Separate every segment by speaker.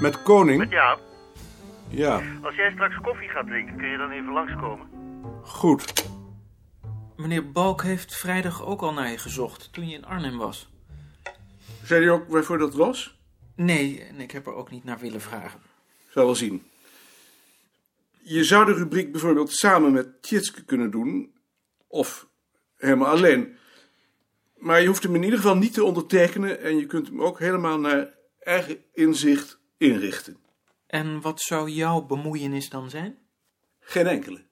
Speaker 1: Met koning?
Speaker 2: Ja,
Speaker 1: Ja,
Speaker 2: als jij straks koffie gaat drinken, kun je dan even langskomen?
Speaker 1: goed.
Speaker 3: Meneer Balk heeft vrijdag ook al naar je gezocht, toen je in Arnhem was.
Speaker 1: Zei hij ook waarvoor dat was?
Speaker 3: Nee, en ik heb er ook niet naar willen vragen.
Speaker 1: Zal wel zien. Je zou de rubriek bijvoorbeeld samen met Tjitske kunnen doen. Of helemaal alleen. Maar je hoeft hem in ieder geval niet te ondertekenen. En je kunt hem ook helemaal naar eigen inzicht inrichten.
Speaker 3: En wat zou jouw bemoeienis dan zijn?
Speaker 1: Geen enkele.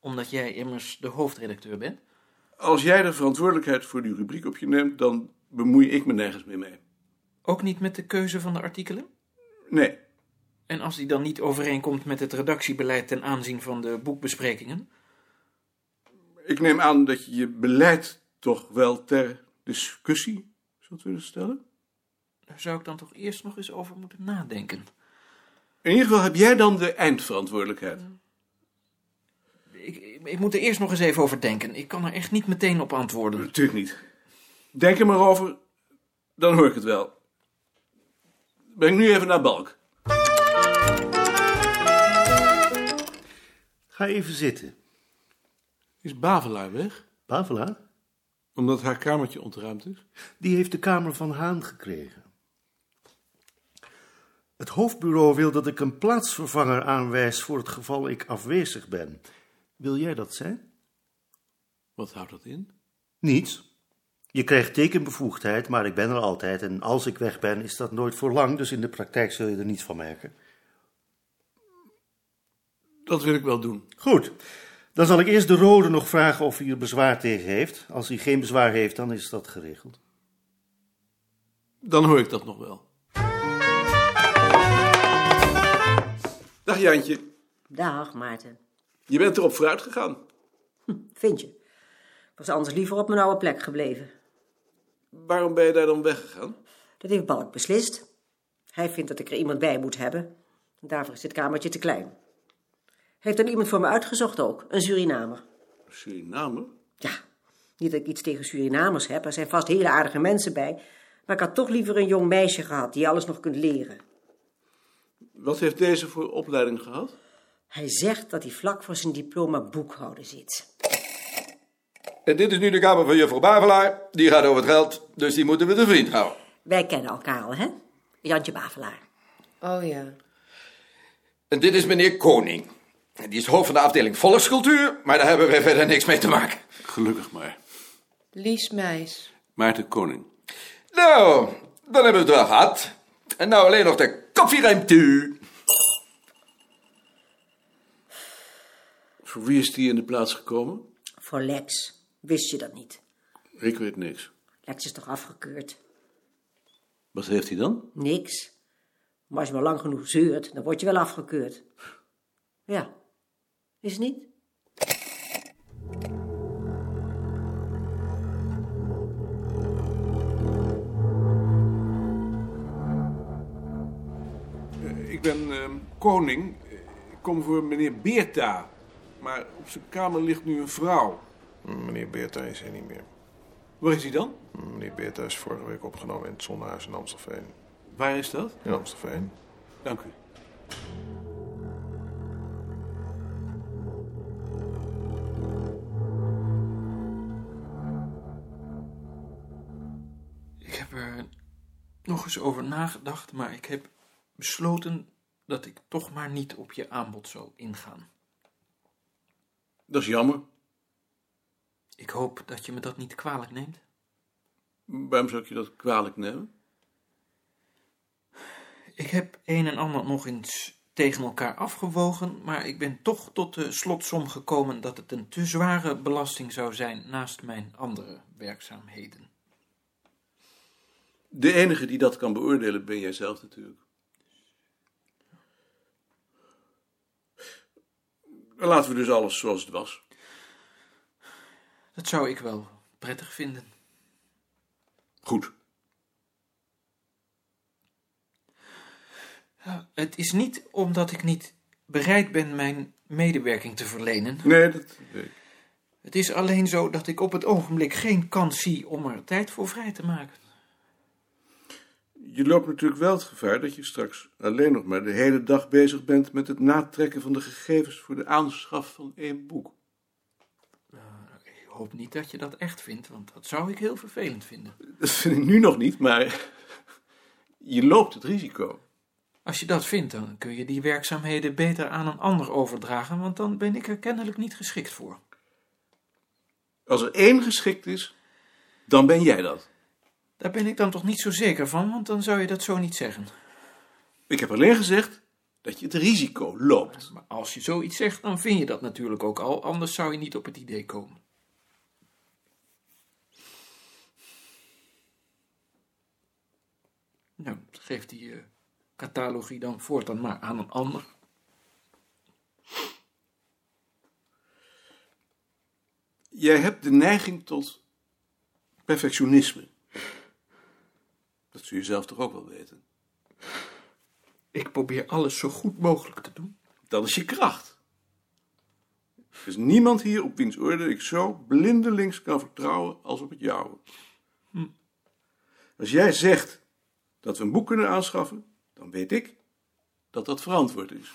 Speaker 3: Omdat jij immers de hoofdredacteur bent.
Speaker 1: Als jij de verantwoordelijkheid voor die rubriek op je neemt, dan bemoei ik me nergens meer mee.
Speaker 3: Ook niet met de keuze van de artikelen?
Speaker 1: Nee,
Speaker 3: En als die dan niet overeenkomt met het redactiebeleid ten aanzien van de boekbesprekingen?
Speaker 1: ik neem aan dat je je beleid toch wel ter discussie zult willen stellen.
Speaker 3: Daar zou ik dan toch eerst nog eens over moeten nadenken.
Speaker 1: In ieder geval heb jij dan de eindverantwoordelijkheid.
Speaker 3: Ik, ik, ik moet er eerst nog eens even over denken. Ik kan er echt niet meteen op antwoorden.
Speaker 1: Natuurlijk niet. Denk er maar over, dan hoor ik het wel. Ben ik nu even naar Balk.
Speaker 4: Ga even zitten.
Speaker 1: Is Bavelaar weg?
Speaker 4: Pavela,
Speaker 1: Omdat haar kamertje ontruimd is?
Speaker 4: die heeft de kamer van Haan gekregen. Het hoofdbureau wil dat ik een plaatsvervanger aanwijs voor het geval ik afwezig ben. Wil jij dat zijn?
Speaker 1: Wat houdt dat in?
Speaker 4: Niets. Je krijgt tekenbevoegdheid, maar ik ben er altijd en als ik weg ben is dat nooit voor lang, dus in de praktijk zul je er niets van merken.
Speaker 1: Dat wil ik wel doen.
Speaker 4: Goed. Dan zal ik eerst de rode nog vragen of hij er bezwaar tegen heeft. Als hij geen bezwaar heeft, dan is dat geregeld.
Speaker 1: Dan hoor ik dat nog wel. Dag Jantje,
Speaker 5: Dag, Maarten.
Speaker 1: je bent erop vooruit gegaan.
Speaker 5: Vind je? Ik was anders liever op mijn oude plek gebleven.
Speaker 1: Waarom ben je daar dan weggegaan?
Speaker 5: Dat heeft Balk beslist. Hij vindt dat ik er iemand bij moet hebben. En daarvoor is dit kamertje te klein. Hij heeft er iemand voor me uitgezocht ook, een Surinamer.
Speaker 1: Suriname?
Speaker 5: Ja, niet dat ik iets tegen Surinamers heb, er zijn vast hele aardige mensen bij. Maar ik had toch liever een jong meisje gehad die alles nog kunt leren.
Speaker 1: Wat heeft deze voor opleiding gehad?
Speaker 5: Hij zegt dat hij vlak voor zijn diploma boekhouder zit.
Speaker 6: En dit is nu de kamer van juffrouw Bavelaar. Die gaat over het geld, dus die moeten we te vriend houden.
Speaker 5: Wij kennen elkaar al, hè? Jantje Bavelaar.
Speaker 7: Oh ja.
Speaker 6: En dit is meneer Koning. En Die is hoofd van de afdeling volkscultuur, maar daar hebben wij verder niks mee te maken.
Speaker 1: Gelukkig maar.
Speaker 7: Lies Meis.
Speaker 1: Maarten Koning.
Speaker 6: Nou, dan hebben we het wel gehad. En nou alleen nog de koffieruimte.
Speaker 1: Voor wie is die in de plaats gekomen?
Speaker 5: Voor Lex. Wist je dat niet?
Speaker 1: Ik weet niks.
Speaker 5: Lex is toch afgekeurd?
Speaker 1: Wat heeft hij dan?
Speaker 5: Niks. Maar als je maar lang genoeg zeurt, dan word je wel afgekeurd. Ja, is het niet?
Speaker 1: Ik ben ehm, koning. Ik kom voor meneer Beerta. Maar op zijn kamer ligt nu een vrouw.
Speaker 8: Meneer Beerta is er niet meer.
Speaker 1: Waar is hij dan?
Speaker 8: Meneer Beerta is vorige week opgenomen in het zonnehuis in Amstelveen.
Speaker 1: Waar is dat?
Speaker 8: In Amstelveen?
Speaker 1: Dank u.
Speaker 3: Ik heb er nog eens over nagedacht, maar ik heb besloten dat ik toch maar niet op je aanbod zal ingaan.
Speaker 1: Dat is jammer.
Speaker 3: Ik hoop dat je me dat niet kwalijk neemt.
Speaker 1: Waarom zou ik je dat kwalijk nemen?
Speaker 3: Ik heb een en ander nog eens tegen elkaar afgewogen, maar ik ben toch tot de slotsom gekomen dat het een te zware belasting zou zijn naast mijn andere werkzaamheden.
Speaker 1: De enige die dat kan beoordelen ben jij zelf natuurlijk. Laten we dus alles zoals het was.
Speaker 3: Dat zou ik wel prettig vinden.
Speaker 1: Goed.
Speaker 3: Het is niet omdat ik niet bereid ben mijn medewerking te verlenen.
Speaker 1: Nee, dat...
Speaker 3: Het is alleen zo dat ik op het ogenblik geen kans zie om er tijd voor vrij te maken.
Speaker 1: Je loopt natuurlijk wel het gevaar dat je straks alleen nog maar de hele dag bezig bent met het natrekken van de gegevens voor de aanschaf van één boek.
Speaker 3: Ik hoop niet dat je dat echt vindt, want dat zou ik heel vervelend vinden.
Speaker 1: Dat vind ik nu nog niet, maar je loopt het risico.
Speaker 3: Als je dat vindt, dan kun je die werkzaamheden beter aan een ander overdragen, want dan ben ik er kennelijk niet geschikt voor.
Speaker 1: Als er één geschikt is, dan ben jij dat.
Speaker 3: Daar ben ik dan toch niet zo zeker van, want dan zou je dat zo niet zeggen.
Speaker 1: Ik heb alleen gezegd dat je het risico loopt.
Speaker 3: Maar als je zoiets zegt, dan vind je dat natuurlijk ook al, anders zou je niet op het idee komen. Nou, geef die eh, catalogie dan voortaan maar aan een ander.
Speaker 1: Jij hebt de neiging tot perfectionisme. Dat zul je zelf toch ook wel weten.
Speaker 3: Ik probeer alles zo goed mogelijk te doen.
Speaker 1: Dat is je kracht. Er is niemand hier op wiens oordeel ik zo blindelings kan vertrouwen als op het jouwe. Als jij zegt dat we een boek kunnen aanschaffen, dan weet ik dat dat verantwoord is.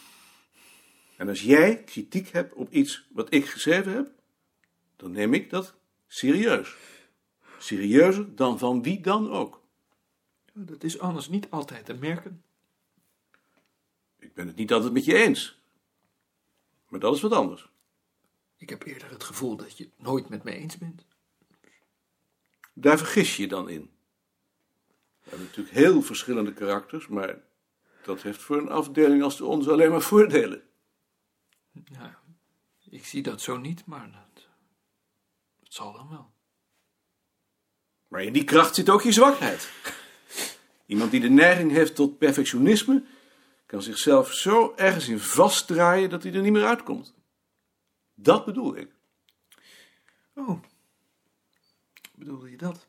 Speaker 1: En als jij kritiek hebt op iets wat ik geschreven heb, dan neem ik dat serieus. Serieuzer dan van wie dan ook.
Speaker 3: Dat is anders niet altijd te merken.
Speaker 1: Ik ben het niet altijd met je eens. Maar dat is wat anders.
Speaker 3: Ik heb eerder het gevoel dat je het nooit met me eens bent.
Speaker 1: Daar vergis je je dan in. We hebben natuurlijk heel verschillende karakters, maar dat heeft voor een afdeling als de onze alleen maar voordelen.
Speaker 3: Nou, ik zie dat zo niet, maar dat, dat zal dan wel.
Speaker 1: Maar in die kracht zit ook je zwakheid. Iemand die de neiging heeft tot perfectionisme, kan zichzelf zo ergens in vastdraaien dat hij er niet meer uitkomt. Dat bedoel ik.
Speaker 3: Oh, bedoelde je dat?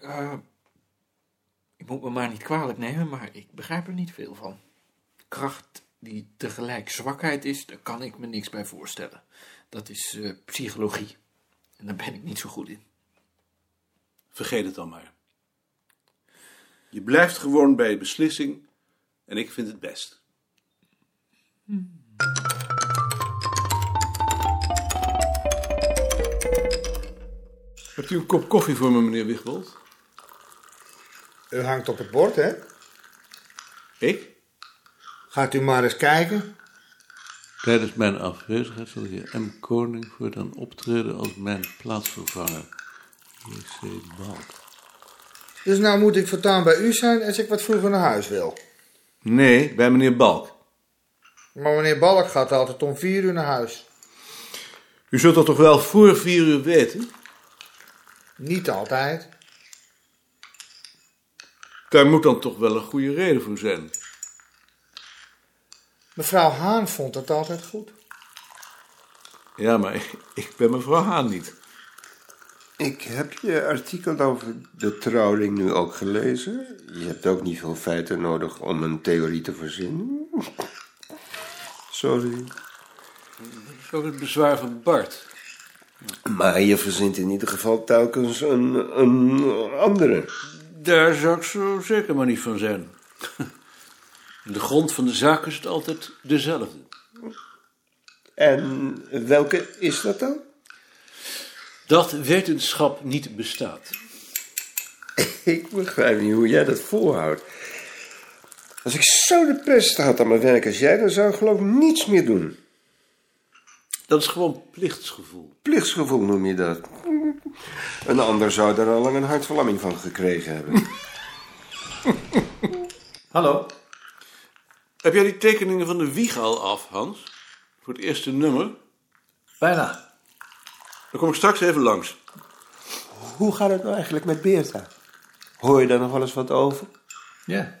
Speaker 3: Eh, ik moet me maar niet kwalijk nemen, maar ik begrijp er niet veel van. Kracht die tegelijk zwakheid is, daar kan ik me niks bij voorstellen. Dat is eh, psychologie. En daar ben ik niet zo goed in.
Speaker 1: Vergeet het dan maar. Je blijft gewoon bij je beslissing en ik vind het best. Hebt u een kop koffie voor me, meneer Wigbold?
Speaker 9: U hangt op het bord, hè?
Speaker 1: Ik?
Speaker 9: Gaat u maar eens kijken.
Speaker 10: Tijdens mijn afwezigheid zal de heer M. Koning voortaan optreden als mijn plaatsvervanger. J.C. Balk.
Speaker 9: Dus nou moet ik voortaan bij u zijn als ik wat vroeger naar huis wil.
Speaker 1: Nee, bij meneer Balk.
Speaker 9: Maar meneer Balk gaat altijd om vier uur naar huis.
Speaker 1: U zult dat toch wel voor vier uur weten?
Speaker 9: Niet altijd.
Speaker 1: Daar moet dan toch wel een goede reden voor zijn.
Speaker 9: Mevrouw Haan vond het altijd goed.
Speaker 1: Ja, maar ik ben mevrouw Haan niet.
Speaker 11: Ik heb je artikel over de trouwring nu ook gelezen. Je hebt ook niet veel feiten nodig om een theorie te verzinnen. Sorry.
Speaker 1: Zo het bezwaar van Bart.
Speaker 11: Maar je verzint in ieder geval telkens een, een andere.
Speaker 10: Daar zou ik zo zeker maar niet van zijn. De grond van de zaak is het altijd dezelfde.
Speaker 11: En welke is dat dan?
Speaker 10: Dat wetenschap niet bestaat.
Speaker 11: Ik begrijp niet hoe jij dat volhoudt. Als ik zo de pest had aan mijn werk als jij, dan zou ik geloof ik niets meer doen.
Speaker 10: Dat is gewoon plichtsgevoel.
Speaker 11: Plichtsgevoel noem je dat. Een ander zou daar al lang een hartverlamming van gekregen hebben.
Speaker 4: Hallo?
Speaker 1: Heb jij die tekeningen van de wieg al af, Hans? Voor het eerste nummer?
Speaker 4: Bijna.
Speaker 1: Dan kom ik straks even langs.
Speaker 11: Hoe gaat het nou eigenlijk met Beerta? Hoor je daar nog wel eens wat over?
Speaker 4: Ja.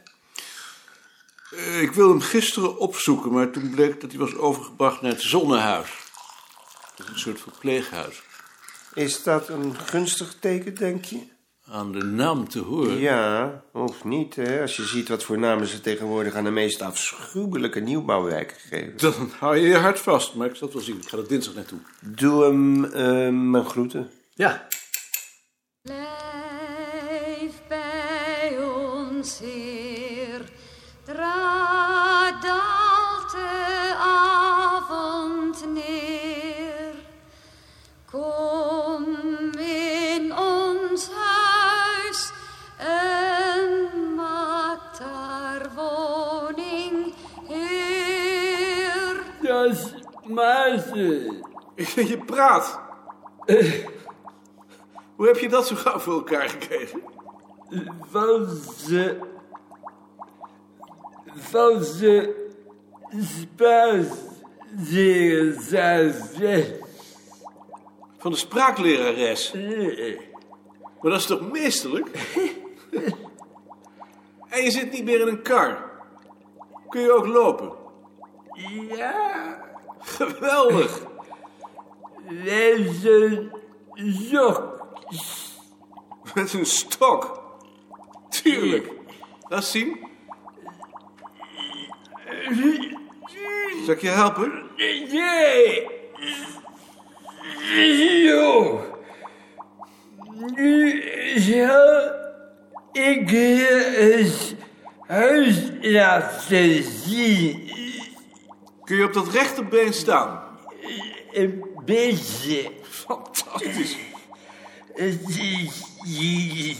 Speaker 1: Eh, Ik wilde hem gisteren opzoeken, maar toen bleek dat hij was overgebracht naar het Zonnehuis. Dat is een soort verpleeghuis.
Speaker 11: Is dat een gunstig teken, denk je?
Speaker 10: Aan de naam te horen.
Speaker 11: Ja, of niet, hè? Als je ziet wat voor namen ze tegenwoordig aan de meest afschuwelijke nieuwbouwwijken geven.
Speaker 1: Dan hou je je hart vast, maar ik zal het wel zien. Ik ga er dinsdag naartoe.
Speaker 11: Doe hem eh, mijn groeten.
Speaker 4: Ja.
Speaker 5: Blijf bij ons, Heer. Draad daalt de avond neer. Kom in ons huis en maak daar woning, Heer.
Speaker 3: Dat is Maarten.
Speaker 1: Je praat. Eh, Hoe heb je dat zo gauw voor elkaar gekregen?
Speaker 3: Van ze. Van ze. Spaas. Zeer zazen.
Speaker 1: Van de spraaklerares. Maar dat is toch meesterlijk? en je zit niet meer in een kar. Kun je ook lopen?
Speaker 3: Ja.
Speaker 1: Geweldig.
Speaker 3: Met een sok.
Speaker 1: Met een stok. Tuurlijk. Laat zien. Zal ik je helpen?
Speaker 3: Nee. Zo. Nu zal ik je het huis laten zien.
Speaker 1: Kun je op dat rechterbeen staan?
Speaker 3: Een beetje.
Speaker 1: Fantastisch.
Speaker 3: Het is hier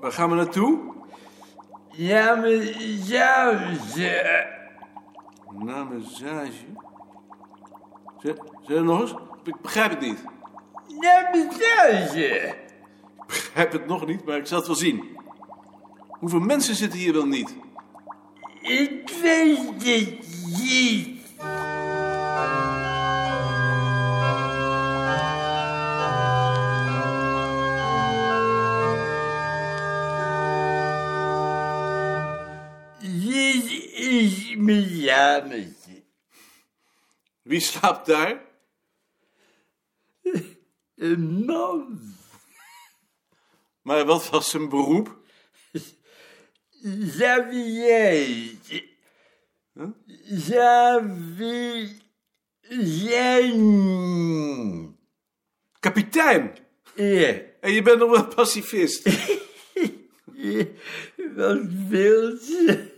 Speaker 1: Waar gaan we naartoe?
Speaker 3: naar mezelf.
Speaker 1: Naar massage. Zeg, zeg het nog eens. Ik begrijp het niet.
Speaker 3: Naar mezelf.
Speaker 1: Ik begrijp het nog niet, maar ik zal het wel zien. Hoeveel mensen zitten hier wel niet?
Speaker 3: Ik weet het niet. Dit is mijn jammertje.
Speaker 1: Wie slaapt daar?
Speaker 3: Een man.
Speaker 1: Maar wat was zijn beroep?
Speaker 3: Xavier. Xavier. Jen.
Speaker 1: Kapitein!
Speaker 3: Ja.
Speaker 1: En je bent nog wel pacifist.
Speaker 3: Wat wil ze?